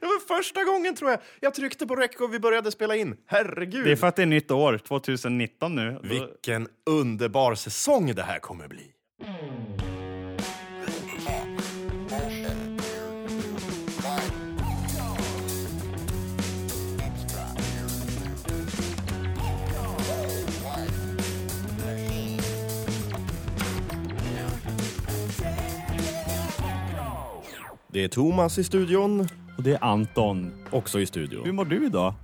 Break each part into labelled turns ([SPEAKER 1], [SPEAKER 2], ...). [SPEAKER 1] Det var första gången tror jag jag tryckte på rec och vi började spela in. Herregud!
[SPEAKER 2] Det är för att det är nytt år, 2019 nu.
[SPEAKER 1] Vilken underbar säsong det här kommer bli. Det är Thomas i studion,
[SPEAKER 2] Och det är Anton.
[SPEAKER 1] också i
[SPEAKER 2] Hur
[SPEAKER 1] studion.
[SPEAKER 2] mår du idag?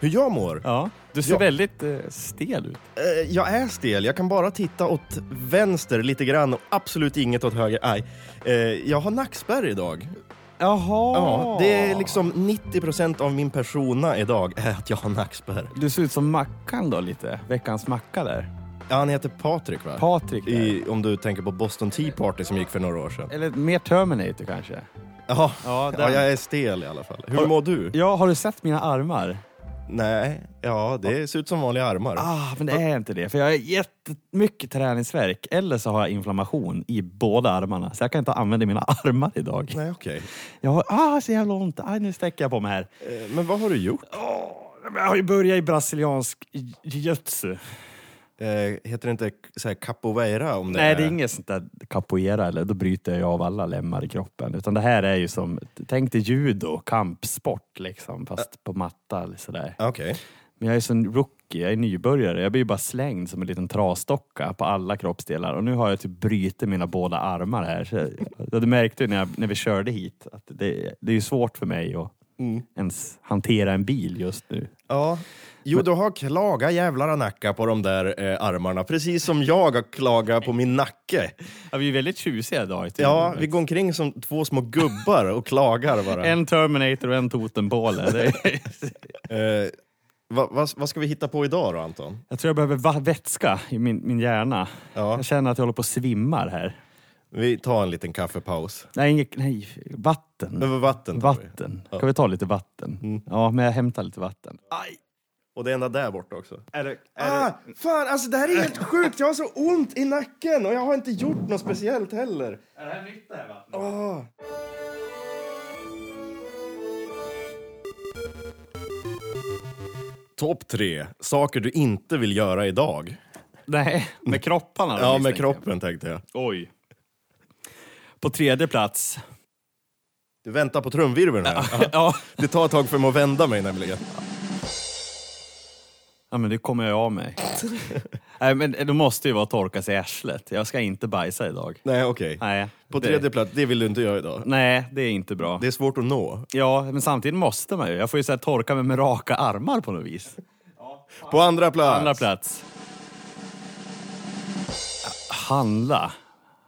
[SPEAKER 1] Hur jag mår?
[SPEAKER 2] Ja. Du ser
[SPEAKER 1] Ja.
[SPEAKER 2] väldigt eh, stel ut.
[SPEAKER 1] Eh, jag är stel. Jag kan bara titta åt vänster lite grann och absolut inget åt höger. Nej. Eh, jag har nackspärr idag.
[SPEAKER 2] Jaha.
[SPEAKER 1] Ja, det är liksom 90 procent av min persona idag är att jag har nackspärr.
[SPEAKER 2] Du ser ut som Mackan då lite. Veckans Macka där.
[SPEAKER 1] Ja, han heter Patrik va?
[SPEAKER 2] Patrik där.
[SPEAKER 1] I, om du tänker på Boston Tea Party som gick för några år sedan.
[SPEAKER 2] Eller mer Terminator kanske.
[SPEAKER 1] Ja,
[SPEAKER 2] Ja,
[SPEAKER 1] ja,
[SPEAKER 2] den.
[SPEAKER 1] jag är stel i alla fall. Hur
[SPEAKER 2] Har-
[SPEAKER 1] mår du?
[SPEAKER 2] Ja, har du sett mina armar?
[SPEAKER 1] Nej, ja det ser ut som vanliga armar.
[SPEAKER 2] Ah, men det är inte det. För jag har jättemycket träningsvärk. Eller så har jag inflammation i båda armarna. Så jag kan inte använda mina armar idag.
[SPEAKER 1] Nej, okej.
[SPEAKER 2] Jag har ah, så jävla ont. Aj, nu sträcker jag på mig här.
[SPEAKER 1] Eh, Men vad har du gjort?
[SPEAKER 2] Åh, men jag har ju börjat i brasiliansk jiu-jitsu.
[SPEAKER 1] Eh, heter det inte så här capoeira om det
[SPEAKER 2] Nej, det är inget sånt där capoeira, eller då bryter jag av alla lemmar i kroppen. Utan det här är ju som, tänk dig judo, kampsport liksom, fast på matta eller sådär.
[SPEAKER 1] Okej.
[SPEAKER 2] Men jag är sån rookie, jag är nybörjare. Jag blir ju bara slängd som en liten trasdocka på alla kroppsdelar. Och nu har jag typ brutit mina båda armar här. Så jag, du märkte ju när, jag, när vi körde hit att det, det är ju svårt för mig att ens hantera en bil just nu.
[SPEAKER 1] Ja. Jo, du har klaga jävlar anacka på de där eh, armarna, precis som jag har klaga på min nacke.
[SPEAKER 2] Ja, vi är väldigt tjusiga idag. i tiden.
[SPEAKER 1] Ja, vi går omkring som två små gubbar och klagar bara.
[SPEAKER 2] En Terminator och en Totempåle. Det är-
[SPEAKER 1] Eh, vad, vad, vad ska vi hitta på idag då, Anton?
[SPEAKER 2] Jag tror jag behöver va- vätska i min, min hjärna.
[SPEAKER 1] Ja.
[SPEAKER 2] Jag känner att jag håller på att svimmar här.
[SPEAKER 1] Vi tar en liten kaffepaus.
[SPEAKER 2] Nej, inget, nej vatten.
[SPEAKER 1] Över vatten tar vi.
[SPEAKER 2] Vatten. Kan vi ta lite vatten? Ja, men jag hämtar lite vatten. Aj!
[SPEAKER 1] Och det enda där borta också.
[SPEAKER 2] Är det,
[SPEAKER 1] Ah, fan, alltså det här är helt sjukt! Jag har så ont i nacken och jag har inte gjort något speciellt heller.
[SPEAKER 2] är det här nytt det här vattnet?
[SPEAKER 1] Ah. Topp tre saker du inte vill göra idag.
[SPEAKER 2] Nej, med kropparna då,
[SPEAKER 1] Ja, med
[SPEAKER 2] misstänker
[SPEAKER 1] kroppen tänkte jag.
[SPEAKER 2] jag. Oj. På tredje plats.
[SPEAKER 1] Du väntar på trumvirveln här.
[SPEAKER 2] Ja.
[SPEAKER 1] Det tar ett tag för mig att vända mig nämligen.
[SPEAKER 2] ja, men det kommer jag av mig. nej, men det måste ju vara att torka sig i arslet. Jag ska inte bajsa idag.
[SPEAKER 1] Nej, okej.
[SPEAKER 2] Nej.
[SPEAKER 1] På
[SPEAKER 2] det-
[SPEAKER 1] tredje plats, det vill du inte göra idag.
[SPEAKER 2] Nej, det är inte bra.
[SPEAKER 1] Det är svårt att nå.
[SPEAKER 2] Ja, men samtidigt måste man ju. Jag får ju så här torka mig med raka armar på något vis.
[SPEAKER 1] På andra plats.
[SPEAKER 2] Andra plats. Handla.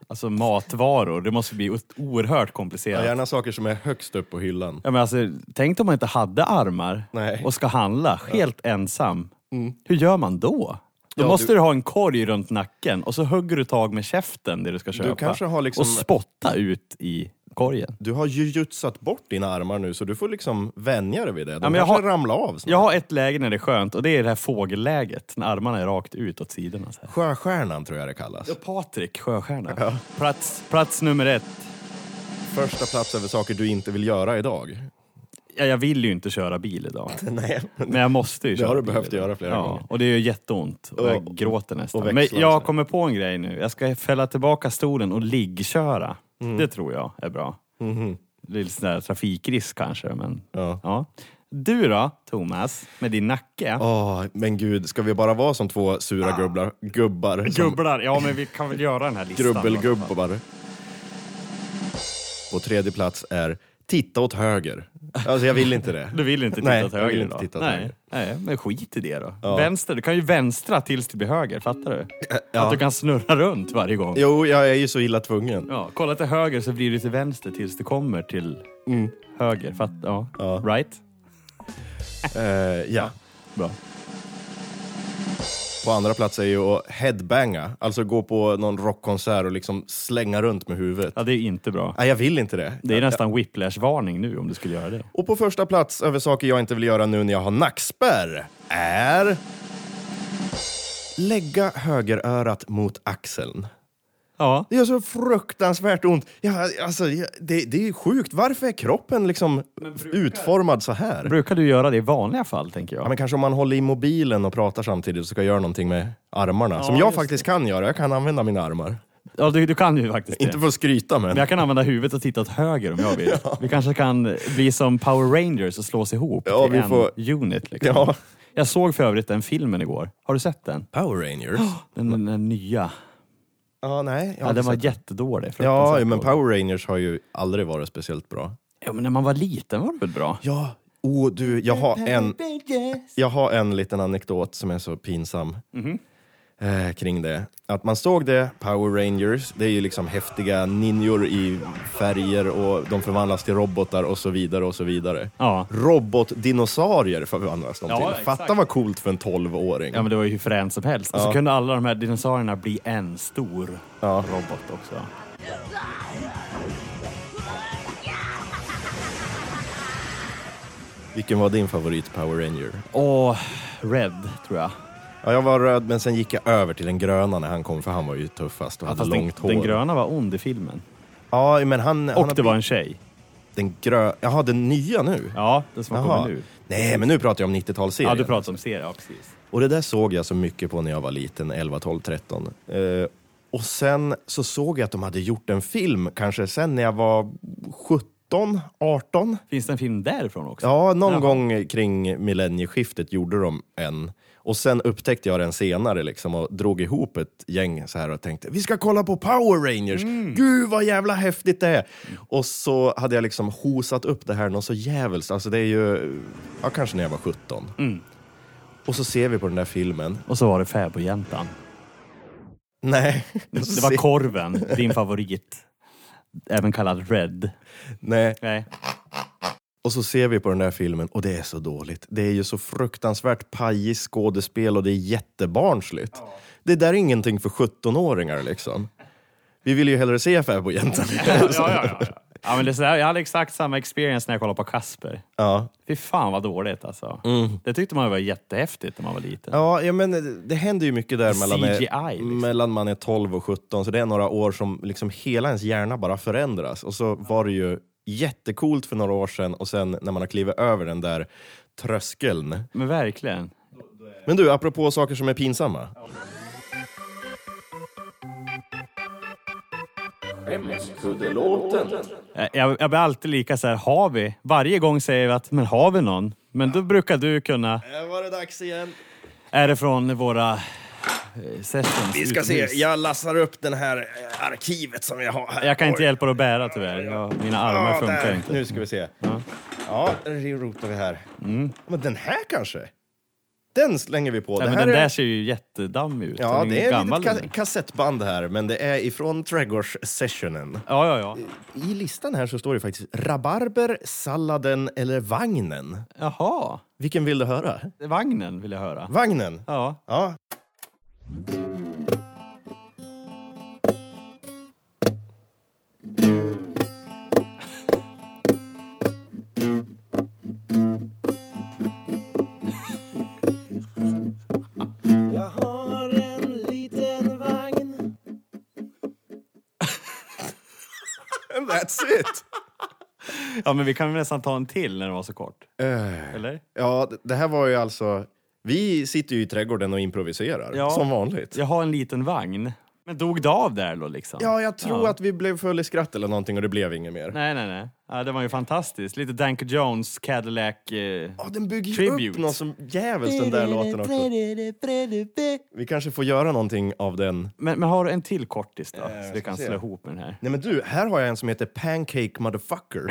[SPEAKER 2] Alltså matvaror. Det måste bli o- oerhört
[SPEAKER 1] Ja,
[SPEAKER 2] komplicerat.
[SPEAKER 1] gärna saker som är högst upp på hyllan.
[SPEAKER 2] Ja, men alltså, tänk om man inte hade armar
[SPEAKER 1] Nej. Mm.
[SPEAKER 2] och ska handla helt ensam. Hur gör man då? Då
[SPEAKER 1] Ja,
[SPEAKER 2] måste
[SPEAKER 1] du-
[SPEAKER 2] du... ha en korg runt nacken och så hugger du tag med käften det du ska köpa.
[SPEAKER 1] kanske har liksom-
[SPEAKER 2] Och spotta ut i korgen.
[SPEAKER 1] Du har jujutsat bort dina armar nu, så du får liksom vänja dig vid det. De
[SPEAKER 2] men jag
[SPEAKER 1] kanske
[SPEAKER 2] har-
[SPEAKER 1] ramlar av snart.
[SPEAKER 2] Jag har ett läge när det är skönt och det är det här fågelläget när armarna är rakt ut åt sidorna. Så här.
[SPEAKER 1] Sjöstjärnan tror jag det kallas.
[SPEAKER 2] Ja, Patrik Sjöstjärna. Plats, plats nummer ett.
[SPEAKER 1] Första plats över saker du inte vill göra idag.
[SPEAKER 2] Ja, jag vill ju inte köra bil idag,
[SPEAKER 1] Nej.
[SPEAKER 2] men jag måste ju
[SPEAKER 1] Det
[SPEAKER 2] köra
[SPEAKER 1] har du
[SPEAKER 2] bil
[SPEAKER 1] behövt
[SPEAKER 2] idag.
[SPEAKER 1] göra flera
[SPEAKER 2] ja,
[SPEAKER 1] gånger.
[SPEAKER 2] Och det gör jätteont och jag gråter nästan.
[SPEAKER 1] och
[SPEAKER 2] men
[SPEAKER 1] växlar
[SPEAKER 2] jag
[SPEAKER 1] så.
[SPEAKER 2] kommer på en grej nu. Jag ska fälla tillbaka stolen och liggköra.
[SPEAKER 1] Mm.
[SPEAKER 2] Det tror jag är bra. Det är lite sån där trafikrisk kanske, men ja.
[SPEAKER 1] Mm-hmm. Ja.
[SPEAKER 2] Du då, Thomas, med din nacke?
[SPEAKER 1] Åh, men gud, ska vi bara vara som två sura gubblar, gubbar? Som
[SPEAKER 2] Gubblar. Ja, men vi kan väl göra den här listan.
[SPEAKER 1] grubbelgubbar. På tredje plats är titta åt höger. Alltså jag vill inte det.
[SPEAKER 2] Du vill inte titta
[SPEAKER 1] Nej,
[SPEAKER 2] åt
[SPEAKER 1] jag
[SPEAKER 2] höger
[SPEAKER 1] vill inte
[SPEAKER 2] då?
[SPEAKER 1] titta åt
[SPEAKER 2] Nej.
[SPEAKER 1] höger.
[SPEAKER 2] Nej, men skit i det då. Vänster, du kan ju vänstra tills det blir höger, fattar du?
[SPEAKER 1] ja.
[SPEAKER 2] Att du kan snurra runt varje gång.
[SPEAKER 1] Jo, jag är ju så illa tvungen.
[SPEAKER 2] Ja, kolla till höger så blir du till vänster tills du kommer till höger. Fatt, ja.
[SPEAKER 1] Mm. Ja.
[SPEAKER 2] Right?
[SPEAKER 1] Eh, ja.
[SPEAKER 2] Bra.
[SPEAKER 1] På andra plats är ju att headbanga, alltså gå på någon rockkonsert och liksom slänga runt med huvudet.
[SPEAKER 2] Ja, det är inte bra.
[SPEAKER 1] Nej, jag vill inte det.
[SPEAKER 2] Det är nästan whiplash-varning nu om du skulle göra det.
[SPEAKER 1] Och på första plats över saker jag inte vill göra nu när jag har nackspärr är... Lägga högerörat mot axeln.
[SPEAKER 2] Ja.
[SPEAKER 1] Det gör så fruktansvärt ont. Ja, alltså, ja, det, det är ju sjukt. Varför är kroppen liksom utformad så här?
[SPEAKER 2] Brukar du göra det i vanliga fall, tänker
[SPEAKER 1] Ja,
[SPEAKER 2] jag?
[SPEAKER 1] men kanske om man håller i mobilen och pratar samtidigt så ska jag göra någonting med armarna. som
[SPEAKER 2] Ja,
[SPEAKER 1] jag
[SPEAKER 2] just
[SPEAKER 1] faktiskt kan göra. Jag kan använda mina armar.
[SPEAKER 2] Ja, du, du kan ju faktiskt
[SPEAKER 1] Inte
[SPEAKER 2] det.
[SPEAKER 1] för att skryta men.
[SPEAKER 2] Men jag kan använda huvudet och titta åt höger om jag vill. Vi kanske kan bli som Power Rangers och slås ihop
[SPEAKER 1] Ja,
[SPEAKER 2] till
[SPEAKER 1] vi
[SPEAKER 2] en
[SPEAKER 1] får-
[SPEAKER 2] unit. Liksom.
[SPEAKER 1] Ja.
[SPEAKER 2] Jag såg för övrigt den filmen igår. Har du sett den?
[SPEAKER 1] Power Rangers?
[SPEAKER 2] Den, den, den nya.
[SPEAKER 1] Ja, nej. jag har
[SPEAKER 2] Ja,
[SPEAKER 1] inte
[SPEAKER 2] den var
[SPEAKER 1] sett-
[SPEAKER 2] jättedålig.
[SPEAKER 1] ja,
[SPEAKER 2] fruktansvärt
[SPEAKER 1] men
[SPEAKER 2] dålig.
[SPEAKER 1] Power Rangers har ju aldrig varit speciellt bra.
[SPEAKER 2] Ja, men när man var liten var det väl bra?
[SPEAKER 1] Ja, oh, du, jag har en... Jag har en liten anekdot som är så pinsam eh, kring det. Att man såg det, Power Rangers, det är ju liksom häftiga ninjor i färger och de förvandlas till robotar och så vidare och så vidare.
[SPEAKER 2] Ja.
[SPEAKER 1] Robotdinosaurier förvandlas de
[SPEAKER 2] Ja,
[SPEAKER 1] till.
[SPEAKER 2] exakt.
[SPEAKER 1] Fatta vad coolt för en 12-åring.
[SPEAKER 2] ja, men det var ju hur fränt som helst. Och så kunde alla de här dinosaurierna bli en stor
[SPEAKER 1] Ja.
[SPEAKER 2] robot också.
[SPEAKER 1] Vilken var din favorit Power Ranger?
[SPEAKER 2] Och Red, tror jag.
[SPEAKER 1] Ja, jag var röd, men sen gick jag över till den gröna när han kom, för han var ju tuffast och
[SPEAKER 2] Ja,
[SPEAKER 1] hade
[SPEAKER 2] fast den,
[SPEAKER 1] långt hår.
[SPEAKER 2] den gröna var ond i filmen.
[SPEAKER 1] Ja, men han... han
[SPEAKER 2] Och
[SPEAKER 1] har
[SPEAKER 2] det var
[SPEAKER 1] bli-
[SPEAKER 2] en tjej.
[SPEAKER 1] Den grö... Jaha, den nya nu?
[SPEAKER 2] Ja, den som
[SPEAKER 1] Jaha.
[SPEAKER 2] kommer nu.
[SPEAKER 1] Nej, men nu pratar jag om 90-talsserien.
[SPEAKER 2] Ja, du pratar om serien, ja, precis.
[SPEAKER 1] Och det där såg jag så mycket på när jag var liten, 11, 12, 13. Eh, och sen så såg jag att de hade gjort en film, kanske sen när jag var 17, 18.
[SPEAKER 2] Finns det en film därifrån också?
[SPEAKER 1] Ja, någon
[SPEAKER 2] Jaha.
[SPEAKER 1] gång kring millennieskiftet gjorde de en. Och sen upptäckte jag den senare liksom och drog ihop ett gäng så här och tänkte vi ska kolla på Power Rangers.
[SPEAKER 2] Mm.
[SPEAKER 1] Gud vad jävla häftigt det är! Och så hade jag liksom hosat upp det här något så jävligt. Alltså det är ju, ja kanske när jag var 17.
[SPEAKER 2] Mm.
[SPEAKER 1] Och så ser vi på den där filmen.
[SPEAKER 2] Och så var det Fäbodjäntan.
[SPEAKER 1] Nej.
[SPEAKER 2] Det var Korven, din favorit. Även kallad Red.
[SPEAKER 1] Nej.
[SPEAKER 2] Nej.
[SPEAKER 1] Och så ser vi på den där filmen och det är så dåligt. Det är ju så fruktansvärt pajigt skådespel och det är jättebarnsligt. Det där är ingenting för 17-åringar liksom. Vi vill ju hellre se Fäbodjäntan.
[SPEAKER 2] Ja, ja, ja. ja men det är så här, jag hade exakt samma experience när jag kollade på Kasper.
[SPEAKER 1] ja.
[SPEAKER 2] Fy fan vad dåligt alltså. Det tyckte man var jättehäftigt när man var liten.
[SPEAKER 1] Mm. Ja, ja, men det- det händer ju mycket där mellan,
[SPEAKER 2] CGI, liksom.
[SPEAKER 1] mellan man är 12 och 17, så det är några år som liksom hela ens hjärna bara förändras. Och så var det ju jättecoolt för några år sedan och sen när man har klivit över den där tröskeln.
[SPEAKER 2] Men verkligen.
[SPEAKER 1] Men du, apropå saker som är pinsamma.
[SPEAKER 2] Jag, jag, jag blir alltid lika så här, har vi? Varje gång säger vi att, men har vi någon? Men då brukar du kunna,
[SPEAKER 1] Här var det dags igen.
[SPEAKER 2] är det från våra eh, sessions
[SPEAKER 1] Vi ska se,
[SPEAKER 2] utomhus?
[SPEAKER 1] jag lassar upp den här eh, arkivet som jag har här.
[SPEAKER 2] Jag kan inte
[SPEAKER 1] Oj.
[SPEAKER 2] hjälpa dig att bära tyvärr. Jag, mina armar
[SPEAKER 1] Ja,
[SPEAKER 2] funkar
[SPEAKER 1] där.
[SPEAKER 2] inte.
[SPEAKER 1] Nu ska vi se. Ja, nu rotar vi här. Men den här kanske? Den slänger vi på.
[SPEAKER 2] Mm. Nej, men
[SPEAKER 1] här
[SPEAKER 2] den
[SPEAKER 1] är-
[SPEAKER 2] där ser ju jättedammig ut.
[SPEAKER 1] Ja,
[SPEAKER 2] Den ju
[SPEAKER 1] det är ett
[SPEAKER 2] gammal.
[SPEAKER 1] litet ka- kassettband här, men det är ifrån trädgårdssessionen.
[SPEAKER 2] Ja, ja, ja.
[SPEAKER 1] I listan här så står det faktiskt rabarber, salladen eller vagnen.
[SPEAKER 2] Jaha.
[SPEAKER 1] Vilken vill du höra?
[SPEAKER 2] Det är Vagnen vill jag höra.
[SPEAKER 1] Vagnen?
[SPEAKER 2] Ja.
[SPEAKER 1] Ja.
[SPEAKER 3] Jag har en liten vagn
[SPEAKER 1] And that's it!
[SPEAKER 2] ja, men vi kan väl nästan ta en till när den var så kort. Eller?
[SPEAKER 1] Ja, det här var ju alltså... Vi sitter ju i trädgården och improviserar,
[SPEAKER 2] Ja.
[SPEAKER 1] som vanligt.
[SPEAKER 2] Jag har en liten vagn. Men dog det av där då liksom?
[SPEAKER 1] Ja, jag tror att vi blev full i skratt eller någonting och det blev inget mer.
[SPEAKER 2] Nej, nej, nej. Ja, det var ju fantastiskt. Lite Danko Jones, Cadillac. Eh...
[SPEAKER 1] Ja, den bygger ju upp
[SPEAKER 2] Tribute.
[SPEAKER 1] någon som djävulskt den där låten också. Vi kanske får göra någonting av den.
[SPEAKER 2] Men, men har du en till kortis då? så
[SPEAKER 1] ska
[SPEAKER 2] vi kan
[SPEAKER 1] se.
[SPEAKER 2] slå ihop med den här.
[SPEAKER 1] Nej men du, här har jag en som heter Pancake Motherfucker.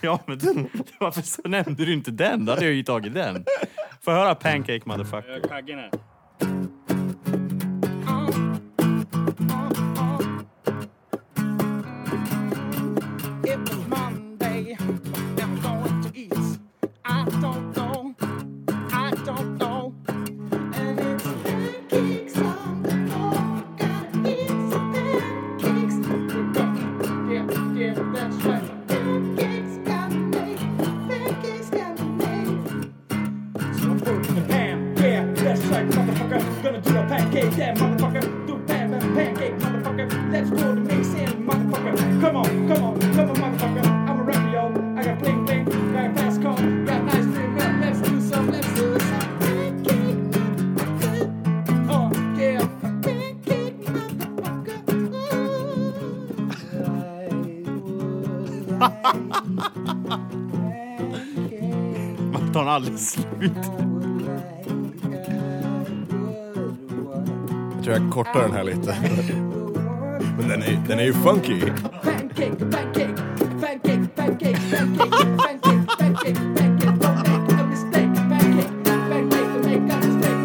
[SPEAKER 2] Ja, men den, varför så nämnde du inte den? Då hade jag ju tagit den. Få höra Pancake Motherfucker.
[SPEAKER 3] It was Monday I'm going to eat I don't know I don't know And it's pancakes on the floor Gotta eat some pancakes Yeah, yeah, that's right Pancakes gotta make Pancakes gotta make So I'm working the pan Yeah, that's right, motherfucker
[SPEAKER 2] Man tar aldrig slut.
[SPEAKER 1] Jag tror jag kortar den här lite. Men den är, den är ju funky.
[SPEAKER 3] Pancake, pancake, pancake, pancake, pancake, pancake, pancake, pancake, don't make a mistake. Pancake, pancake, don't make a mistake.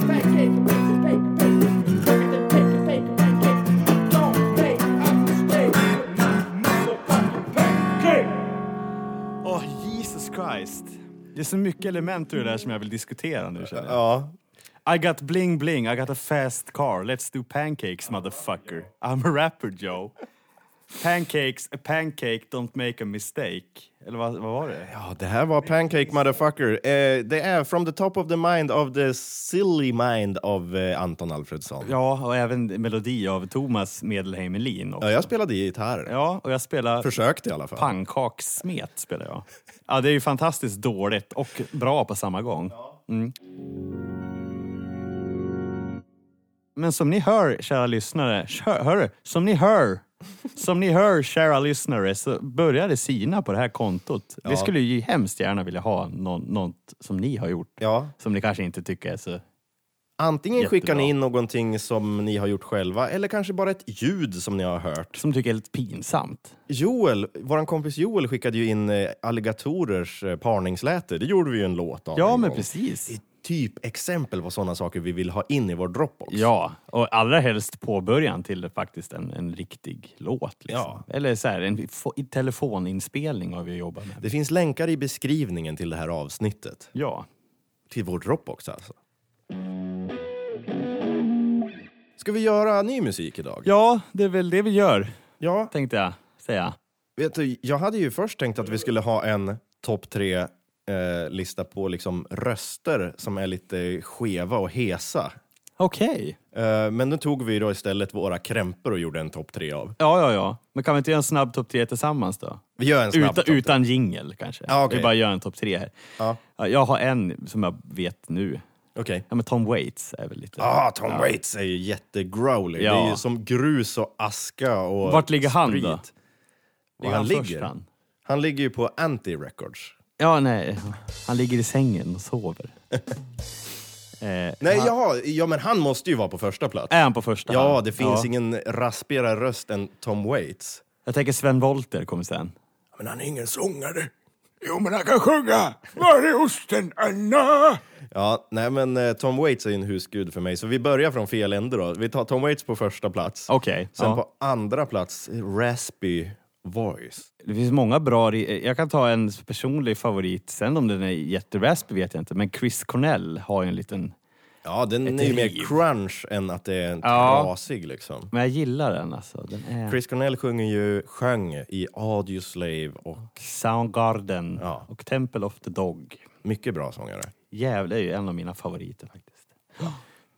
[SPEAKER 3] Pancake, pancake, pancake, pancake, pancake, pancake, pancake, don't make a mistake. Motherfucking pancake.
[SPEAKER 2] Åh, Jesus Christ. Det är så mycket element ur det där som jag vill diskutera nu känner jag.
[SPEAKER 1] Ja.
[SPEAKER 2] I got bling bling, I got a fast car, let's do pancakes motherfucker. I'm a rapper Joe. Pancakes, a pancake, don't make a mistake. Eller vad, vad var det?
[SPEAKER 1] ja, det här var Pancake Motherfucker. Eh, det är From the top of the mind of the silly mind av eh, Anton Alfredsson. Ja.
[SPEAKER 2] Ja, och även melodi av Thomas Medelheim Elin. också.
[SPEAKER 1] jag spelade gitarr.
[SPEAKER 2] Ja, och jag spelar
[SPEAKER 1] Försökte i alla fall.
[SPEAKER 2] pannkakssmet. Spelar jag. Ja, det är ju fantastiskt dåligt och bra på samma gång. Mm. Men som ni hör, kära lyssnare, hör, hör, som ni hör, som ni hör, kära lyssnare, så börjar det sina på det här kontot. Vi skulle ju hemskt gärna vilja ha någon, något som ni har gjort,
[SPEAKER 1] Ja.
[SPEAKER 2] som ni kanske inte tycker är så...
[SPEAKER 1] Antingen
[SPEAKER 2] Jättebra.
[SPEAKER 1] skickar ni in någonting som ni har gjort själva eller kanske bara ett ljud som ni har hört.
[SPEAKER 2] som tycker är lite pinsamt.
[SPEAKER 1] Joel, vår kompis Joel skickade ju in eh, alligatorers eh, parningsläte. Det gjorde vi ju en låt av.
[SPEAKER 2] Ja,
[SPEAKER 1] en
[SPEAKER 2] men
[SPEAKER 1] gång.
[SPEAKER 2] precis.
[SPEAKER 1] Det är typ exempel på sådana saker vi vill ha in i vår Dropbox.
[SPEAKER 2] Ja, och allra helst påbörjan till faktiskt en, en riktig låt. Liksom. Eller så här, en fo- i telefoninspelning har vi jobbat med.
[SPEAKER 1] Det finns länkar i beskrivningen till det här avsnittet.
[SPEAKER 2] Ja.
[SPEAKER 1] Till vår Dropbox alltså. Ska vi göra ny musik idag?
[SPEAKER 2] ja, det är väl det vi gör,
[SPEAKER 1] ja.
[SPEAKER 2] tänkte jag säga.
[SPEAKER 1] Vet du, jag hade ju först tänkt att vi skulle ha en topp tre eh, lista på liksom röster som är lite skeva och hesa.
[SPEAKER 2] Okej.
[SPEAKER 1] Eh, men nu tog vi då istället våra krämpor och gjorde en topp tre av.
[SPEAKER 2] Ja, ja, ja. Men kan vi inte göra en snabb topp tre tillsammans då?
[SPEAKER 1] Vi gör en snabb
[SPEAKER 2] Utan,
[SPEAKER 1] topp tre.
[SPEAKER 2] utan jingel kanske.
[SPEAKER 1] Ja, okej.
[SPEAKER 2] Vi bara gör en topp tre här.
[SPEAKER 1] Ja.
[SPEAKER 2] Ja, Jag har en som jag vet nu.
[SPEAKER 1] Okej.
[SPEAKER 2] Ja, men Tom Waits är väl lite...
[SPEAKER 1] Ah, Tom Waits är ju jättegrowly. Det är
[SPEAKER 2] Ja.
[SPEAKER 1] ju som grus och aska och
[SPEAKER 2] Vart ligger han
[SPEAKER 1] sprit.
[SPEAKER 2] då?
[SPEAKER 1] Var han
[SPEAKER 2] först,
[SPEAKER 1] ligger?
[SPEAKER 2] han?
[SPEAKER 1] Han ligger ju på Anti Records.
[SPEAKER 2] Ja, nej. Han ligger i sängen och sover. eh,
[SPEAKER 1] Nej, jaha, ja men han måste ju vara på första plats.
[SPEAKER 2] Är han på första
[SPEAKER 1] Ja,
[SPEAKER 2] hand?
[SPEAKER 1] det finns ingen raspigare röst än Tom Waits.
[SPEAKER 2] Jag tänker Sven Wollter kommer sen.
[SPEAKER 1] Men han är ingen sångare.
[SPEAKER 4] Jo, men han kan sjunga! Var är osten, Anna?
[SPEAKER 1] Ja, nej men eh, Tom Waits är ju en husgud för mig, så vi börjar från fel ände då. Vi tar Tom Waits på första plats.
[SPEAKER 2] Okej.
[SPEAKER 1] Sen
[SPEAKER 2] ja.
[SPEAKER 1] på andra plats, eh, Raspy Voice.
[SPEAKER 2] Det finns många bra... re- Jag kan ta en personlig favorit. Sen om den är jätteraspig vet jag inte. Men Chris Cornell har ju en liten...
[SPEAKER 1] Ja, den är ju mer
[SPEAKER 2] riv.
[SPEAKER 1] crunch än att det är en
[SPEAKER 2] Ja.
[SPEAKER 1] trasig liksom.
[SPEAKER 2] Men jag gillar den alltså. Den är...
[SPEAKER 1] Chris Cornell sjunger ju, sjöng i Audio Slave och
[SPEAKER 2] Soundgarden
[SPEAKER 1] Ja.
[SPEAKER 2] och Temple of the Dog.
[SPEAKER 1] mycket bra sångare.
[SPEAKER 2] Gävle är ju en av mina favoriter faktiskt.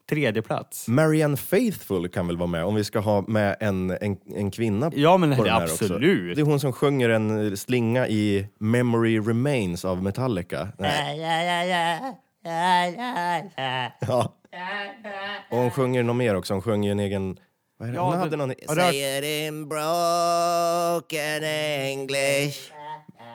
[SPEAKER 2] Tredje plats.
[SPEAKER 1] Marianne Faithful kan väl vara med om vi ska ha med en, en, en kvinna
[SPEAKER 2] Ja, men
[SPEAKER 1] på den här
[SPEAKER 2] absolut.
[SPEAKER 1] Också. Det är hon som sjunger en eh, slinga i Memory Remains av Metallica. Nej. Ja. Och hon sjunger något mer också. Hon sjunger en egen... Vad är det? hon
[SPEAKER 2] Ja,
[SPEAKER 1] hade
[SPEAKER 2] men-
[SPEAKER 1] någon...
[SPEAKER 2] har du hört-
[SPEAKER 1] it in broken English.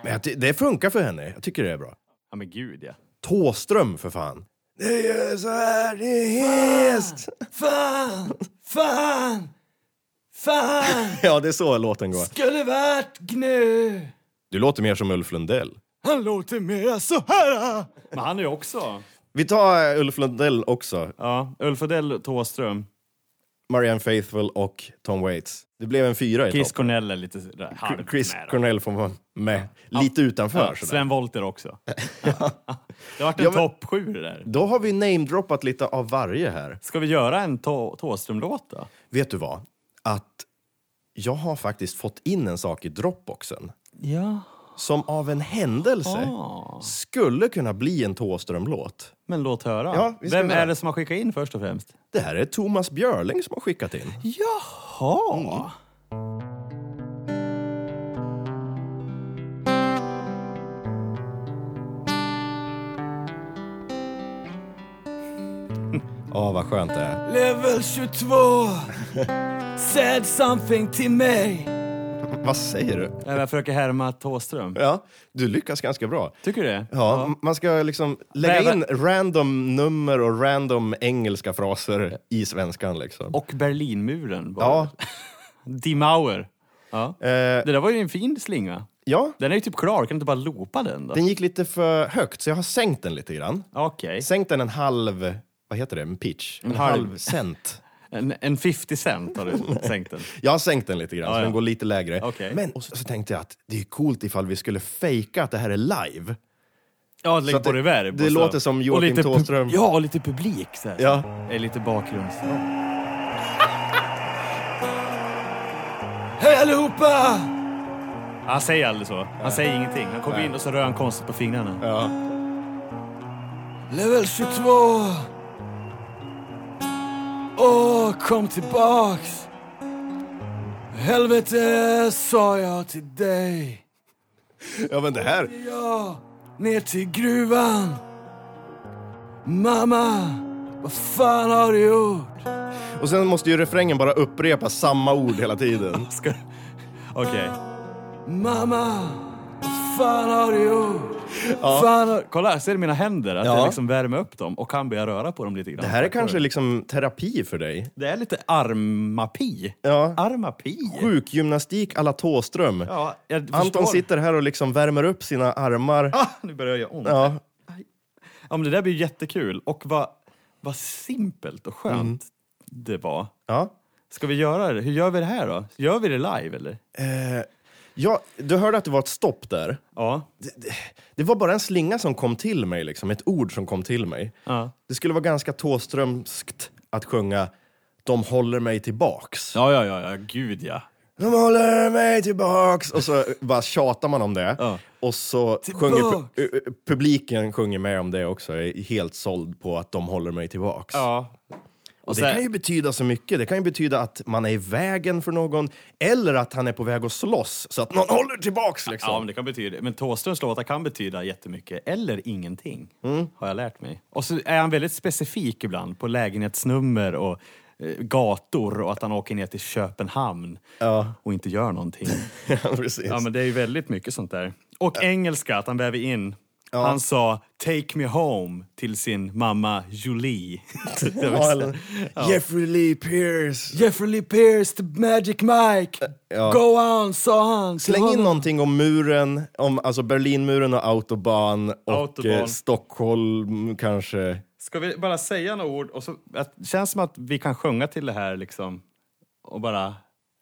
[SPEAKER 1] Men jag ty- det funkar för henne. Jag tycker det är bra.
[SPEAKER 2] Ja men gud ja.
[SPEAKER 1] Tåström för fan. Det är så här det är häst.
[SPEAKER 2] Fan! Fan! Fan!
[SPEAKER 1] Ja, det är så låten går.
[SPEAKER 2] Skulle varit gnö
[SPEAKER 1] Du låter mer som Ulf Lundell.
[SPEAKER 2] Han låter mera så här. Men han är ju också...
[SPEAKER 1] Vi tar eh, Ulf Lundell också.
[SPEAKER 2] Ja, Ulf Odell, Thåström.
[SPEAKER 1] Marianne Faithfull och Tom Waits. Det blev en fyra i
[SPEAKER 2] Chris
[SPEAKER 1] topp.
[SPEAKER 2] Cornell är lite sådär halvt
[SPEAKER 1] Chris
[SPEAKER 2] med.
[SPEAKER 1] Cornell får vara med. Lite utanför.
[SPEAKER 2] Ja,
[SPEAKER 1] sådär.
[SPEAKER 2] Sven Wollter också. Det har varit en
[SPEAKER 1] Ja, men-
[SPEAKER 2] topp sju det där.
[SPEAKER 1] Då har vi namedroppat lite av varje här.
[SPEAKER 2] Ska vi göra en Tå- Thåström-låt då?
[SPEAKER 1] Vet du vad? Att jag har faktiskt fått in en sak i Dropboxen
[SPEAKER 2] Ja.
[SPEAKER 1] som av en händelse
[SPEAKER 2] Ah.
[SPEAKER 1] skulle kunna bli en Thåström-låt.
[SPEAKER 2] Men låt höra.
[SPEAKER 1] Ja, vi ska
[SPEAKER 2] Vem
[SPEAKER 1] göra.
[SPEAKER 2] är det som har skickat in först och främst?
[SPEAKER 1] Det här är Thomas Björling som har skickat in.
[SPEAKER 2] Jaha!
[SPEAKER 1] Mm. Ja, vad skönt det är.
[SPEAKER 2] Level 22 Said something till mig
[SPEAKER 1] Vad säger du?
[SPEAKER 2] Jag försöker härma Thåström.
[SPEAKER 1] Ja, du lyckas ganska bra.
[SPEAKER 2] Tycker du det?
[SPEAKER 1] Ja, m- man ska liksom lägga
[SPEAKER 2] Väva-
[SPEAKER 1] in random nummer och random engelska fraser i svenskan liksom.
[SPEAKER 2] Och Berlinmuren. var
[SPEAKER 1] Ja,
[SPEAKER 2] det. Die Mauer. Ja.
[SPEAKER 1] eh,
[SPEAKER 2] Det där var ju en fin slinga.
[SPEAKER 1] ja,
[SPEAKER 2] Den är ju typ klar, kan du inte bara loopa den då?
[SPEAKER 1] den gick lite för högt så jag har sänkt den lite grann.
[SPEAKER 2] Okej.
[SPEAKER 1] Sänkt den en halv, vad heter det, en pitch? En,
[SPEAKER 2] halv.
[SPEAKER 1] halv cent.
[SPEAKER 2] En, en 50 cent har du sänkt den.
[SPEAKER 1] Jag har sänkt den lite grann, så
[SPEAKER 2] ja.
[SPEAKER 1] den går lite lägre.
[SPEAKER 2] Okej.
[SPEAKER 1] Men och så, så tänkte jag att det är coolt ifall vi skulle fejka att det här är live.
[SPEAKER 2] Ja, lägg
[SPEAKER 1] Så att
[SPEAKER 2] på
[SPEAKER 1] det-
[SPEAKER 2] reverb.
[SPEAKER 1] det
[SPEAKER 2] och så.
[SPEAKER 1] låter som
[SPEAKER 2] Och
[SPEAKER 1] Joakim
[SPEAKER 2] lite pu-
[SPEAKER 1] Thåström.
[SPEAKER 2] Ja, och lite publik. Så här.
[SPEAKER 1] Ja.
[SPEAKER 2] Eh, Lite bakgrunds... Hej allihopa! Han säger aldrig så. Han säger ingenting. Han kommer in och så rör han konstigt på fingrarna.
[SPEAKER 1] Ja.
[SPEAKER 2] Level 22! Åh, kom tillbaks! Helvete sa jag till dig.
[SPEAKER 1] ja, men det här...
[SPEAKER 2] Ja, ner till gruvan. Mamma, vad fan har du gjort?
[SPEAKER 1] Och sen måste ju refrängen bara upprepa samma ord hela tiden.
[SPEAKER 2] Ska... Okej. Mamma, vad fan har du gjort? Fan har... Kolla, ser du mina händer? Att
[SPEAKER 1] Ja.
[SPEAKER 2] jag liksom värmer upp dem och kan börja röra på dem lite grann.
[SPEAKER 1] Det här är kanske liksom terapi för dig.
[SPEAKER 2] Det är lite armapi.
[SPEAKER 1] Ja.
[SPEAKER 2] Armapi.
[SPEAKER 1] Sjukgymnastik alla Tåström.
[SPEAKER 2] Ja, jag förstår.
[SPEAKER 1] Anton sitter här och liksom värmer upp sina armar.
[SPEAKER 2] Ah, nu börjar jag göra ont. Ja.
[SPEAKER 1] Ja.
[SPEAKER 2] men det där blir jättekul. Och vad, vad simpelt och skönt det var.
[SPEAKER 1] Ja.
[SPEAKER 2] Ska vi göra det? Hur gör vi det här då? Gör vi det live eller?
[SPEAKER 1] Eh, ja, du hörde att det var ett stopp där.
[SPEAKER 2] Ja.
[SPEAKER 1] Det var bara en slinga som kom till mig, liksom. ett ord som kom till mig.
[SPEAKER 2] Ja,
[SPEAKER 1] Det skulle vara ganska Tåströmskt att sjunga De håller mig tillbaks.
[SPEAKER 2] ja, ja, ja, ja. gud ja.
[SPEAKER 1] De håller mig tillbaks! Och så bara tjatar man om det.
[SPEAKER 2] Ja.
[SPEAKER 1] Och så sjunger pu- ö- ö- publiken sjunger med om det också. Är helt såld på att de håller mig tillbaks.
[SPEAKER 2] Ja. Och
[SPEAKER 1] Det
[SPEAKER 2] sen-
[SPEAKER 1] kan ju betyda så mycket. Det kan ju betyda att man är i vägen för någon eller att han är på väg att slåss så att någon håller tillbaks liksom.
[SPEAKER 2] Ja, men det kan betyda... Men Thåströms låtar kan betyda jättemycket eller ingenting, har jag lärt mig. Och så är han väldigt specifik ibland på lägenhetsnummer och eh, gator och att han åker ner till Köpenhamn och inte gör någonting.
[SPEAKER 1] Ja, precis.
[SPEAKER 2] Ja, men det är ju väldigt mycket sånt där. Och engelska, att han väver in. Han sa “Take me home” till sin mamma Julie. Det var
[SPEAKER 1] Ja,
[SPEAKER 2] så-
[SPEAKER 1] eller- Jeffrey Lee Pierce.
[SPEAKER 2] Jeffrey Lee Pierce, the Magic Mike. Go on, sa han. till
[SPEAKER 1] Släng in
[SPEAKER 2] honom.
[SPEAKER 1] någonting om muren, om alltså Berlinmuren och Autobahn och
[SPEAKER 2] Autobahn.
[SPEAKER 1] Eh, Stockholm kanske.
[SPEAKER 2] Ska vi bara säga några ord? Och så, att, känns som att vi kan sjunga till det här liksom och bara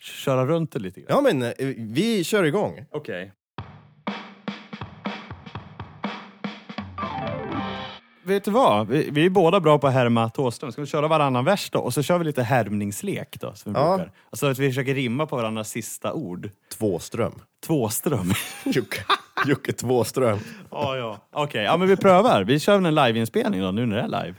[SPEAKER 2] köra runt det lite grann.
[SPEAKER 1] Ja men eh, vi kör igång.
[SPEAKER 2] Okej. Vet du vad? Vi, vi är båda bra på att härma Thåström. Ska vi köra varannan vers då? Och så kör vi lite härmningslek då, som vi
[SPEAKER 1] Ja.
[SPEAKER 2] brukar. Alltså att vi försöker rimma på varandras sista ord.
[SPEAKER 1] Tvåström.
[SPEAKER 2] Tvåström.
[SPEAKER 1] Jocke, Jocke Tvåström.
[SPEAKER 2] ja, ja. Okej, ja, men vi prövar. Vi kör en liveinspelning då, nu när det är live.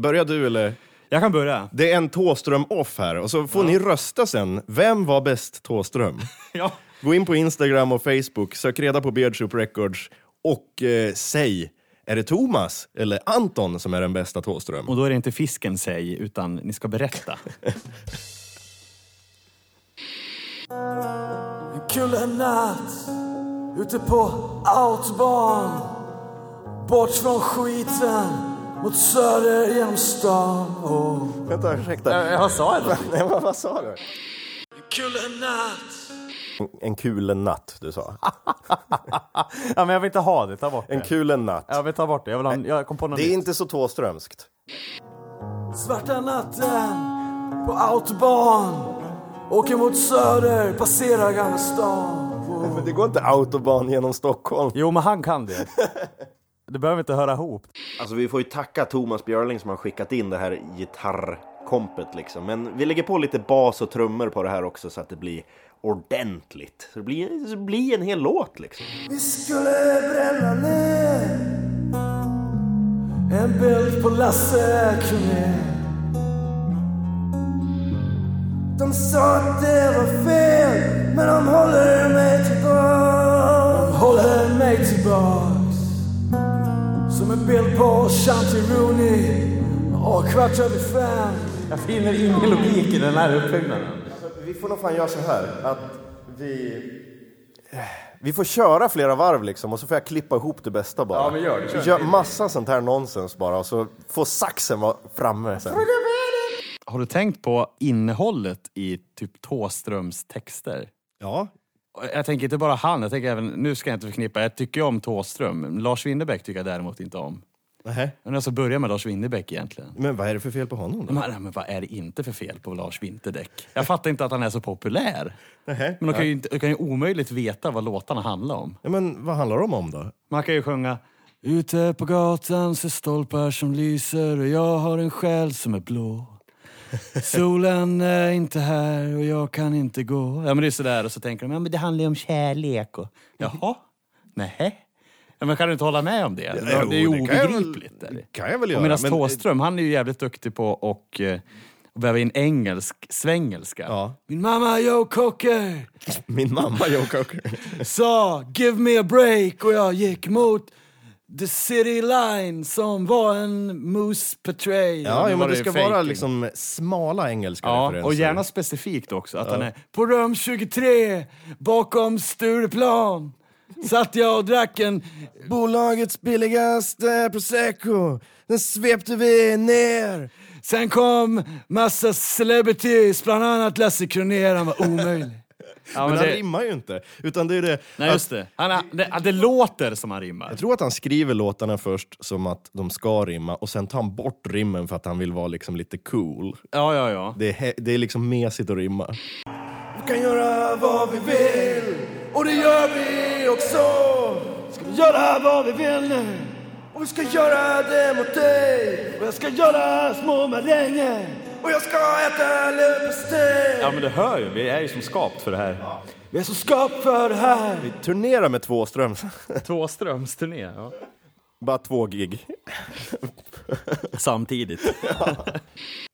[SPEAKER 1] Börjar du eller?
[SPEAKER 2] Jag kan börja.
[SPEAKER 1] Det är en Tåström off här och så får ni rösta sen. Vem var bäst Tåström?
[SPEAKER 2] ja.
[SPEAKER 1] Gå in på Instagram och Facebook, sök reda på Beardsoup Records och eh, säg, är det Thomas eller Anton som är den bästa Tåström?
[SPEAKER 2] Och då är det inte fisken säg, utan ni ska berätta.
[SPEAKER 5] En kul natt ute på Outbahn Bort från skiten mot söder genom stan och...
[SPEAKER 1] Vänta, ursäkta.
[SPEAKER 2] Vad sa jag?
[SPEAKER 1] Nej, vad, vad sa du?
[SPEAKER 5] En kul natt
[SPEAKER 1] En kulen natt, du sa.
[SPEAKER 2] Ja, men jag vill inte ha det. Ta bort
[SPEAKER 1] En kulen natt.
[SPEAKER 2] Jag vill ta bort det. Jag, vill ha, jag kom på något
[SPEAKER 1] Det är inte så Tåströmskt.
[SPEAKER 5] Svarta natten på Outbahn Åker mot söder, passerar Gamla stan
[SPEAKER 1] Men det går inte autobahn genom Stockholm.
[SPEAKER 2] Jo, men han kan det. Du behöver inte höra ihop.
[SPEAKER 1] Alltså vi får ju tacka Thomas Björling som har skickat in det här gitarrkompet liksom. Men vi lägger på lite bas och trummor på det här också så att det blir ordentligt. Så det blir, så det blir en hel låt liksom.
[SPEAKER 5] Vi skulle bränna ner En bild på Lasse Kronér De sa att det var fel Men de håller mig tillbaks De håller mig tillbaks Som en bild på Shanti Rooney Och kvart över fem
[SPEAKER 2] Jag finner ingen logik i den här uppbyggnaden.
[SPEAKER 1] Vi får nog fan göra så här att vi... Vi får köra flera varv liksom och så får jag klippa ihop det bästa bara.
[SPEAKER 6] Ja, men gör det. Kör
[SPEAKER 1] Vi gör massa sånt här nonsens bara och så får saxen vara framme sen.
[SPEAKER 2] Har du tänkt på innehållet i typ Tåströms texter?
[SPEAKER 1] Ja,
[SPEAKER 2] Jag tänker inte bara han, jag tänker även, nu ska jag inte förknippa, jag tycker ju om Tåström. Lars Winnerbäck tycker jag däremot inte om.
[SPEAKER 1] Nähä.
[SPEAKER 2] Jag undrar så börja med Lars Winnerbäck egentligen.
[SPEAKER 1] men vad är det för fel på honom då?
[SPEAKER 2] Men, men vad är det inte för fel på Lars Winterdäck? Jag fattar inte att han är så populär.
[SPEAKER 1] Nähä.
[SPEAKER 2] Men de kan ju, inte, de kan ju omöjligt veta vad låtarna handlar om.
[SPEAKER 1] Ja, men vad handlar de om då?
[SPEAKER 2] Man kan ju sjunga Ute på gatan ser stolpar som lyser och jag har en själ som är blå. Solen är inte här och jag kan inte gå. Ja men det är sådär och så tänker de, ja men det handlar ju om kärlek och... Jaha? Nähä? Ja, men kan du inte hålla med om det? det är ju
[SPEAKER 1] Jo, kan jag väl-
[SPEAKER 2] obegripligt. är det?
[SPEAKER 1] kan jag väl göra.
[SPEAKER 2] Och medan
[SPEAKER 1] men-
[SPEAKER 2] Thåström, han är ju jävligt duktig på och eh, väva in engelsk svengelska.
[SPEAKER 1] Ja.
[SPEAKER 2] Min mamma Joe Cocker
[SPEAKER 1] Min mamma Joe Cocker.
[SPEAKER 2] sa “Give me a break” och jag gick mot The City Line som var en Moose Patrol.
[SPEAKER 1] Ja, jo, men det ska vara
[SPEAKER 2] fejking.
[SPEAKER 1] liksom smala engelska
[SPEAKER 2] Ja,
[SPEAKER 1] referenser.
[SPEAKER 2] och gärna specifikt också. Att han är på rum 23 bakom Stureplan. Satt jag och drack en...
[SPEAKER 1] Bolagets billigaste prosecco, den svepte vi ner.
[SPEAKER 2] Sen kom massa celebrities, bland annat Lasse Kronér. Han var omöjlig. Ja,
[SPEAKER 1] men han rimmar ju inte. Utan det är det
[SPEAKER 2] Nej, just det. Han, han- det, det låter som han rimmar.
[SPEAKER 1] Jag tror att han skriver låtarna först som att de ska rimma och sen tar han bort rimmen för att han vill vara liksom lite cool.
[SPEAKER 2] Ja, ja, ja.
[SPEAKER 1] Det är, he- det är liksom mesigt att rimma.
[SPEAKER 5] Vi kan göra vad vi vill och det gör vi också. Ska vi göra vad vi vill nu och vi ska göra det mot dig. Och jag ska göra små maränger och jag ska äta leverpastej.
[SPEAKER 6] Ja men det hör ju, vi är ju som skapt för det här.
[SPEAKER 5] Vi är så skapt för det här.
[SPEAKER 1] Turnera med Tvåström.
[SPEAKER 2] Tvåströms turné. Ja.
[SPEAKER 1] Bara två gig.
[SPEAKER 2] Samtidigt.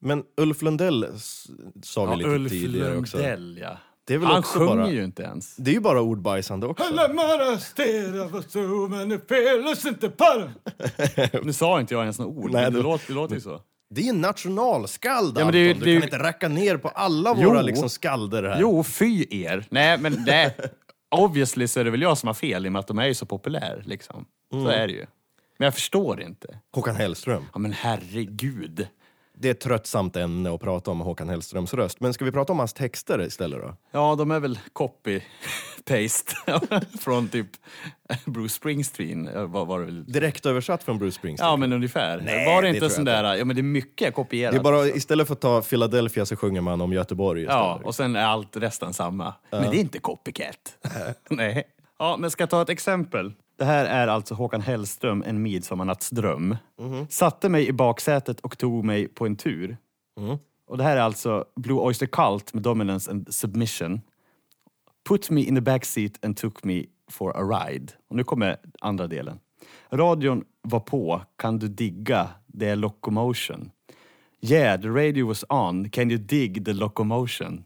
[SPEAKER 1] Men Ulf Lundell s- sa vi
[SPEAKER 2] Ja,
[SPEAKER 1] lite
[SPEAKER 2] Ulf
[SPEAKER 1] tidigare också.
[SPEAKER 2] Lundell, ja.
[SPEAKER 1] Det är väl
[SPEAKER 2] Han
[SPEAKER 1] också
[SPEAKER 2] sjunger
[SPEAKER 1] bara-
[SPEAKER 2] ju inte ens.
[SPEAKER 1] Det är ju bara ordbajsande också.
[SPEAKER 2] Nu sa inte jag ens några ord,
[SPEAKER 1] Nej,
[SPEAKER 2] men det,
[SPEAKER 1] det-
[SPEAKER 2] låter, det låter ju så.
[SPEAKER 1] Det är en nationalskald,
[SPEAKER 2] Ja, men det är ju-
[SPEAKER 1] Anton. Du
[SPEAKER 2] det är ju-
[SPEAKER 1] kan inte racka ner på alla
[SPEAKER 2] Jo.
[SPEAKER 1] våra liksom, skalder här.
[SPEAKER 2] Jo, fy er. Nej, men nej. Obviously så är det väl jag som har fel i och med att de är ju så populär. Liksom.
[SPEAKER 1] Mm.
[SPEAKER 2] Så är det ju. Men jag förstår det inte.
[SPEAKER 1] Håkan Hellström.
[SPEAKER 2] Ja, men herregud.
[SPEAKER 1] Det är ett tröttsamt ämne att prata om Håkan Hellströms röst. Men ska vi prata om hans texter istället då?
[SPEAKER 2] Ja, de är väl copy-paste från typ Bruce Springsteen. eh, Vad var det väl?
[SPEAKER 1] Direkt översatt från Bruce Springsteen.
[SPEAKER 2] Ja, men ungefär.
[SPEAKER 1] Nej,
[SPEAKER 2] var
[SPEAKER 1] det
[SPEAKER 2] det inte
[SPEAKER 1] tror
[SPEAKER 2] sån
[SPEAKER 1] jag
[SPEAKER 2] där... Ja, men det är mycket kopierat.
[SPEAKER 1] Det är bara, istället för att ta Philadelphia så sjunger man om Göteborg istället.
[SPEAKER 2] Ja, och sen är allt resten samma. Men det är inte copycat. Nej. Ja, men ska jag ta ett exempel? Det här är alltså Håkan Hellström, En midsommarnattsdröm.
[SPEAKER 1] Mhm.
[SPEAKER 2] Satte mig i baksätet och tog mig på en tur.
[SPEAKER 1] Mhm.
[SPEAKER 2] Och det här är alltså Blue Oyster Cult med Dominance and Submission. Put me in the backseat and took me for a ride. Och nu kommer andra delen. Radion var på, kan du digga, det är locomotion. Yeah, the radio was on, can you dig the locomotion?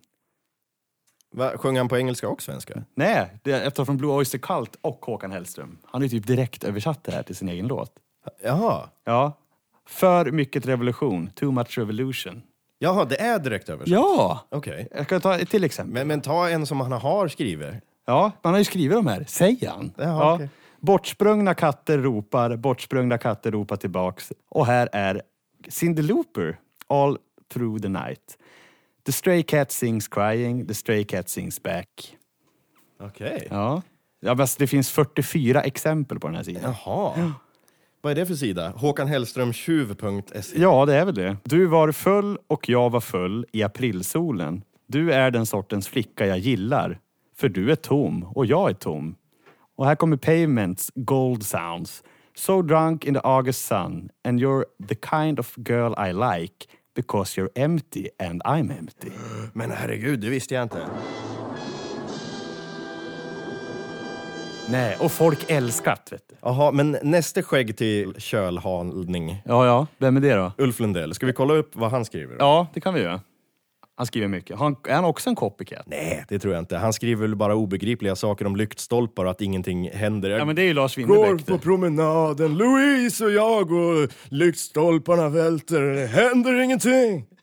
[SPEAKER 1] Va, sjöng han på engelska och svenska?
[SPEAKER 2] Nej, det är efter från Blue Oyster Cult och Håkan Hellström. Han har ju typ direkt översatt det här till sin egen låt.
[SPEAKER 1] Jaha.
[SPEAKER 2] Ja. För mycket revolution, too much revolution.
[SPEAKER 1] Jaha, det är direkt översatt?
[SPEAKER 2] Ja!
[SPEAKER 1] Okej.
[SPEAKER 2] Jag kan ta ett till exempel.
[SPEAKER 1] Men, men ta en som han har skrivit.
[SPEAKER 2] Ja, man har ju skrivit de här, säger han.
[SPEAKER 1] Jaha, okej.
[SPEAKER 2] Bortsprungna katter ropar, bortsprungna katter ropar tillbaks. Och här är Cyndi Looper, All through the night. The stray cat sings crying, the stray cat sings back.
[SPEAKER 1] Okej.
[SPEAKER 2] Ja. ja men alltså, det finns 44 exempel på den här sidan.
[SPEAKER 1] Jaha. Vad är det för sida? HåkanHellströmtjuv.se.
[SPEAKER 2] Ja, det är väl det. Du var full och jag var full i aprilsolen. Du är den sortens flicka jag gillar. För du är tom och jag är tom. Och här kommer Pavements Gold Sounds. So drunk in the August sun and you're the kind of girl I like because you're empty and I'm empty.
[SPEAKER 1] Men herregud, det visste jag inte.
[SPEAKER 2] Nej, och folk älskat vet du.
[SPEAKER 1] Jaha, men nästa skägg till kölhalning.
[SPEAKER 2] Ja, ja. Vem är det då?
[SPEAKER 1] Ulf Lundell, ska vi kolla upp vad han skriver?
[SPEAKER 2] Ja, det kan vi göra. Han skriver mycket. Har Han, är han också en copycat?
[SPEAKER 1] Nej, det tror jag inte. Han skriver väl bara obegripliga saker om lyktstolpar och att ingenting händer.
[SPEAKER 2] Ja, men det är ju Lars
[SPEAKER 1] Går
[SPEAKER 2] Winnerbäck.
[SPEAKER 1] på
[SPEAKER 2] det.
[SPEAKER 1] promenaden, Louise och jag och lyktstolparna välter, det händer ingenting.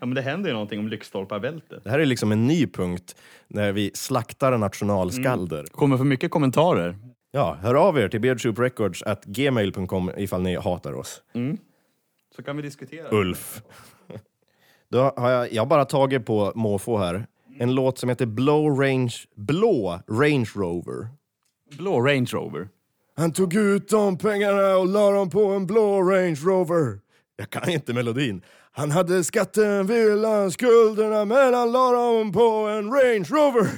[SPEAKER 2] Ja, men det händer ju någonting om lyktstolpar välter.
[SPEAKER 1] Det här är liksom en ny punkt när vi slaktar nationalskalder.
[SPEAKER 2] Kommer för mycket kommentarer.
[SPEAKER 1] Ja, hör av er till beardsouprecords.gmail.com ifall ni hatar oss.
[SPEAKER 2] Mm. Så kan vi diskutera.
[SPEAKER 1] Ulf. Då har jag, jag har bara tagit på måfå här. En låt som heter Blow Range, Blå Range Rover.
[SPEAKER 2] Blå Range Rover.
[SPEAKER 1] Han tog ut de pengarna och la dem på en blå Range Rover. Jag kan inte melodin. Han hade skatten, villan, skulderna men han la dem på en Range Rover.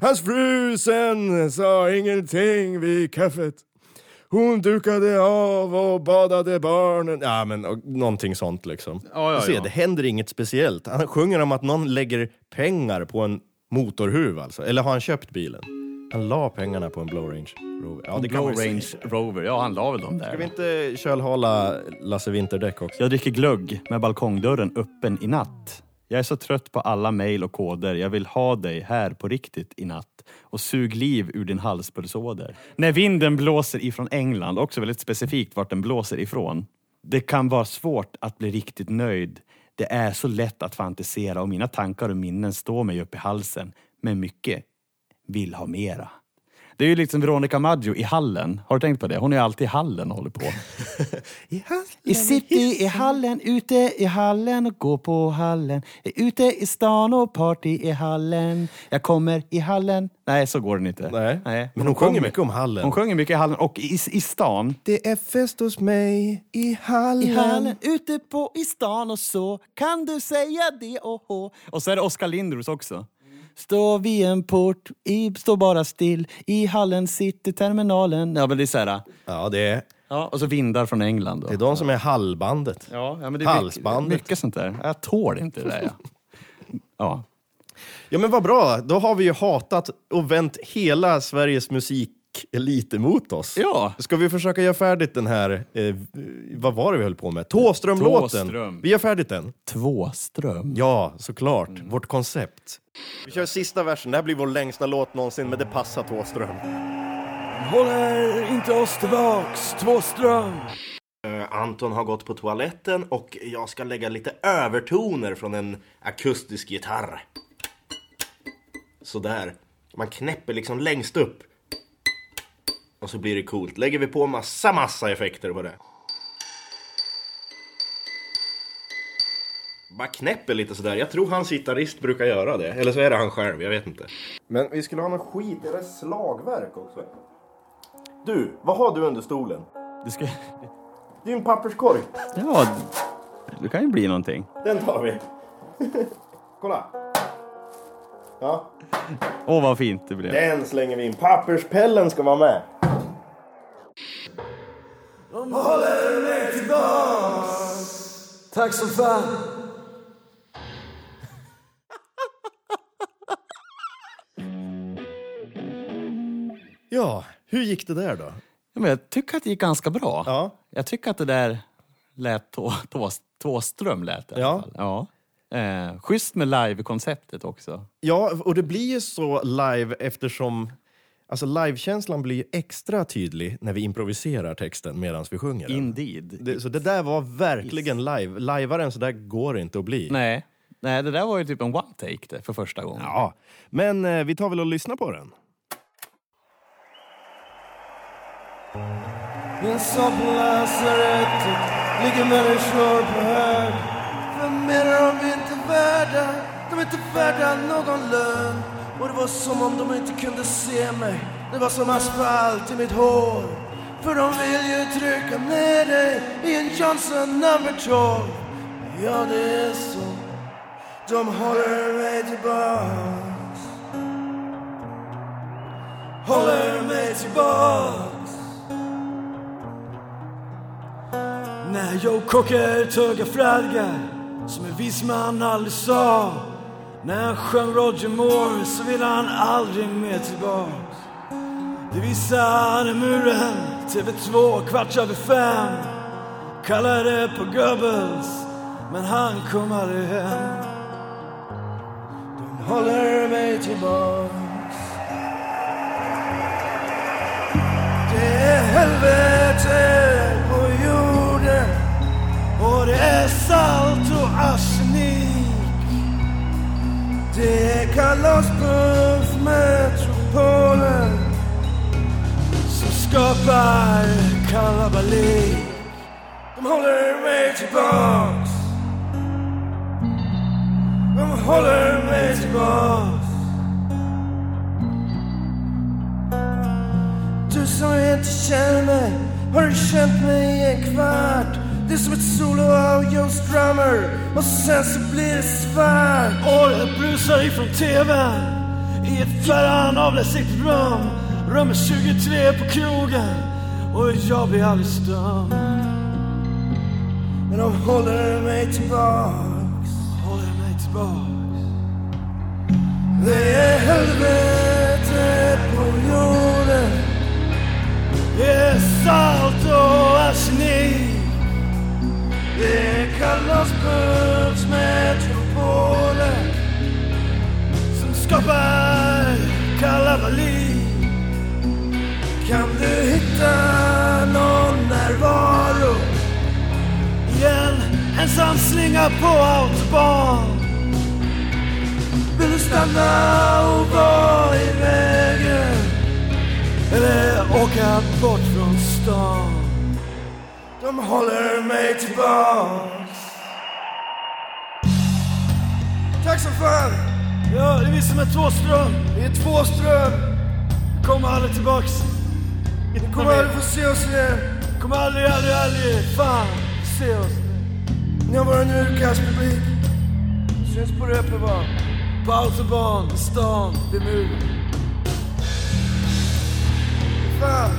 [SPEAKER 1] Hans fru sen sa ingenting vid kaffet. Hon dukade av och badade barnen. Ja, men och, någonting sånt liksom.
[SPEAKER 2] Ja, ja,
[SPEAKER 1] Du ser,
[SPEAKER 2] ja.
[SPEAKER 1] Det händer inget speciellt. Han sjunger om att någon lägger pengar på en motorhuv alltså. Eller har han köpt bilen? Han la pengarna på en Blow Range Rover. Ja, det kan
[SPEAKER 2] Blå
[SPEAKER 1] man ju säga.
[SPEAKER 2] Range Rover. Ja, han la väl dem
[SPEAKER 1] Ska vi
[SPEAKER 2] där.
[SPEAKER 1] inte kölhala Lasse Vinterdäck också?
[SPEAKER 2] Jag dricker glögg med balkongdörren öppen i natt. Jag är så trött på alla mejl och koder. Jag vill ha dig här på riktigt i natt. Och sug liv ur din halspulsåder. När vinden blåser ifrån England, också väldigt specifikt vart den blåser ifrån. Det kan vara svårt att bli riktigt nöjd. Det är så lätt att fantisera och mina tankar och minnen står mig upp i halsen. Men mycket vill ha mera. Det är ju liksom Veronica Maggio i hallen. Har du tänkt på det? Hon är alltid i hallen och håller på. I city, i hallen, ute i hallen och gå på hallen. Ute i stan och party i hallen. Jag kommer i hallen. Nej, så går den inte.
[SPEAKER 1] Nej. Men hon sjunger
[SPEAKER 2] kommer.
[SPEAKER 1] mycket om hallen.
[SPEAKER 2] Hon sjunger mycket i hallen och i, i stan.
[SPEAKER 1] Det är fest hos mig i hallen.
[SPEAKER 2] I hallen, ute på i stan och så kan du säga det och hå. Och så är det Oskar Lindros också. Står vid en port, i, står bara still i hallen, cityterminalen. Ja, men det är så här.
[SPEAKER 1] Ja, det är,
[SPEAKER 2] Ja, och så vindar från England. Då.
[SPEAKER 1] det är de som är hallbandet.
[SPEAKER 2] Ja, ja, men det är
[SPEAKER 1] Halsbandet.
[SPEAKER 2] Mycket, mycket sånt där. Jag tål inte det där. Ja. ja.
[SPEAKER 1] Ja, men vad bra. Då har vi ju hatat och vänt hela Sveriges musikelit emot oss.
[SPEAKER 2] Ja.
[SPEAKER 1] Ska vi försöka göra färdigt den här, eh, vad var det vi höll på med? Tåströmlåten.
[SPEAKER 2] Thåström.
[SPEAKER 1] Vi gör färdigt den.
[SPEAKER 2] Tvåström.
[SPEAKER 1] Ja, såklart. Vårt koncept. Vi kör sista versen. Det här blir vår längsta låt någonsin, men det passar Thåström.
[SPEAKER 5] Håller inte oss tillbaks, Tvåström.
[SPEAKER 1] Eh, Anton har gått på toaletten och jag ska lägga lite övertoner från en akustisk gitarr. Sådär. Man knäpper liksom längst upp. Och så blir det coolt. Lägger vi på massa, massa effekter på det. Bara knäpper lite sådär. Jag tror hans gitarrist brukar göra det. Eller så är det han själv, jag vet inte. Men vi skulle ha någon skit. Är det slagverk också? Du, vad har du under stolen?
[SPEAKER 2] Det ska...
[SPEAKER 1] Det är en papperskorg.
[SPEAKER 2] Ja, det kan ju bli någonting.
[SPEAKER 1] Den tar vi. Kolla. Ja,
[SPEAKER 2] Åh, vad fint det blev.
[SPEAKER 1] den slänger vi in. Papperspellen ska vara med.
[SPEAKER 5] Håller mig tillbaks. Tack så fan.
[SPEAKER 1] Ja, hur gick det där då?
[SPEAKER 2] Ja, men jag tycker att det gick ganska bra.
[SPEAKER 1] Ja.
[SPEAKER 2] Jag tycker att det där lät tå, tås, Tvåström lät det i
[SPEAKER 1] Ja.
[SPEAKER 2] alla fall. Ja. Eh, schysst med live-konceptet också.
[SPEAKER 1] Ja, och det blir ju så live eftersom Alltså livekänslan blir ju extra tydlig när vi improviserar texten medan vi sjunger den.
[SPEAKER 2] Indeed.
[SPEAKER 1] det, Så det där var verkligen live. Lajvare än så där går det inte att bli.
[SPEAKER 2] Nej. Nej, det där var ju typ en one-take det, för första gången.
[SPEAKER 1] Ja, men eh, vi tar väl och lyssnar på den.
[SPEAKER 5] Jag sa på lasarettet ligger människor på hög. Vem menar de är inte värda? De är inte värda någon lön. Och det var som om de inte kunde se mig. Det var som asfalt i mitt hår. För de vill ju trycka ner dig i en Johnson number 12. Ja, det är så. De håller mig tillbaks. Håller mig tillbaks. När jag kockar tugga fradgar som en vis man aldrig sa. När han sjöng Roger Moore så ville han aldrig mer tillbaks. Det visade muren, TV2 kvart över fem. Kallade på Goebbels, men han kom aldrig hem. De håller mig tillbaks. Det är helvete på jorden och det är salt och ask jag loss puff metropolen som skapar kalabalik. De håller mig tillbaks. De håller mig tillbaks. Du som inte känner mig, har du känt mig i en kvart? Det är som ett solo av Joe's drummer och sen så blir det svart. Året brusar ifrån TVn i ett fjärran avlägset rum. Rummet 23 på krogen och jag blir aldrig stum. Men de håller mig tillbaks. Håller mig tillbaks. Det är helvetet på jorden. Det är salt och arsenik. Det kallas Puffsmetropolen som skapar kalabalik. Kan du hitta någon närvaro i en ensam slinga på autobahn? Vill du stanna och vara i vägen? Eller åka bort från stan De håller mig tillbaks Tack som fan! Ja, det är vi som är Thåström. Vi är Tvåström. Vi kommer aldrig tillbaks. Ni kommer aldrig få se oss igen. Kommer aldrig, aldrig, aldrig fan se oss. Ni har varit en urkastpublik. Syns på Reeperbahn. På autobahn, i stan, vid muren. Fan!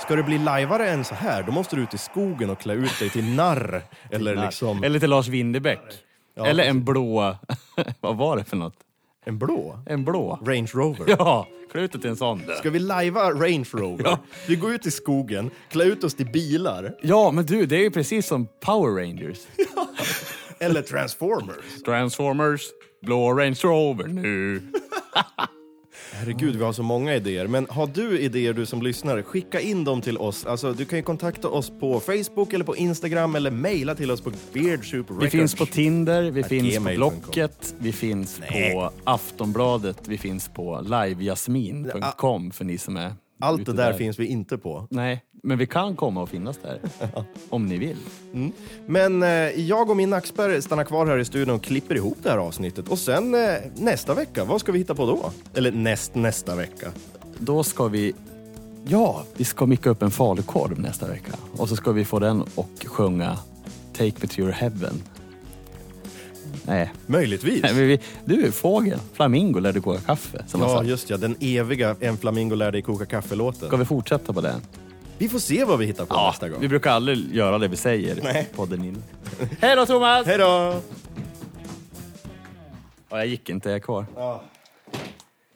[SPEAKER 1] Ska det bli lajvare än så här, då måste du ut i skogen och klä ut dig till narr. Eller liksom
[SPEAKER 2] Eller till Lars Winnerbäck. Eller en blå... Vad var det för något?
[SPEAKER 1] en blå
[SPEAKER 2] En blå?
[SPEAKER 1] Range Rover.
[SPEAKER 2] Ja, klä ut dig till en sån. du.
[SPEAKER 1] Ska vi lajva Range Rover?
[SPEAKER 2] Ja.
[SPEAKER 1] Vi går ut i skogen, klä ut oss till bilar
[SPEAKER 2] Ja, men du, det är ju precis som Power Rangers.
[SPEAKER 1] eller Transformers.
[SPEAKER 2] Transformers, blå Range Rover nu.
[SPEAKER 1] Herregud, vi har så många idéer. Men har du idéer, du som lyssnar, skicka in dem till oss. Alltså, du kan ju kontakta oss på Facebook eller på Instagram eller mejla till oss på Beardsoup Records.
[SPEAKER 2] Vi finns på Tinder, vi finns på
[SPEAKER 1] gmail.com.
[SPEAKER 2] Blocket, vi finns på Aftonbladet, vi finns på livejasmin.com för ni som är
[SPEAKER 1] Allt
[SPEAKER 2] ute
[SPEAKER 1] det där finns vi inte på.
[SPEAKER 2] Nej, men vi kan komma och finnas där. om ni vill.
[SPEAKER 1] Men eh, jag och min Axberg stannar kvar här i studion och klipper ihop det här avsnittet. Och sen eh, nästa vecka, vad ska vi hitta på då? Eller näst nästa vecka.
[SPEAKER 2] Då ska vi... Ja, vi ska micka upp en falukorv nästa vecka. Och så ska vi få den och sjunga Take me to your heaven. Nej,
[SPEAKER 1] Möjligtvis.
[SPEAKER 2] Nej, men vi, du fågel, flamingo lär du koka kaffe. Som man
[SPEAKER 1] Ja,
[SPEAKER 2] sa.
[SPEAKER 1] just ja. Den eviga En flamingo lär dig koka
[SPEAKER 2] Ska
[SPEAKER 1] kaffe-låten.
[SPEAKER 2] vi fortsätta på den?
[SPEAKER 1] Vi får se vad vi hittar på
[SPEAKER 2] Ja,
[SPEAKER 1] nästa gång.
[SPEAKER 2] vi brukar aldrig göra det vi säger i
[SPEAKER 1] Nej.
[SPEAKER 2] podden innan. Hej då Thomas!
[SPEAKER 1] Hej då!
[SPEAKER 2] Ja, jag gick inte, jag är kvar.
[SPEAKER 1] Ja,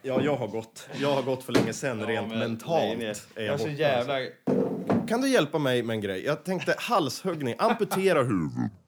[SPEAKER 1] jag har gått. Jag har gått för länge sen rent mentalt. är jag borta. Kan du hjälpa mig med en grej? Jag tänkte halshuggning, amputera huvudet.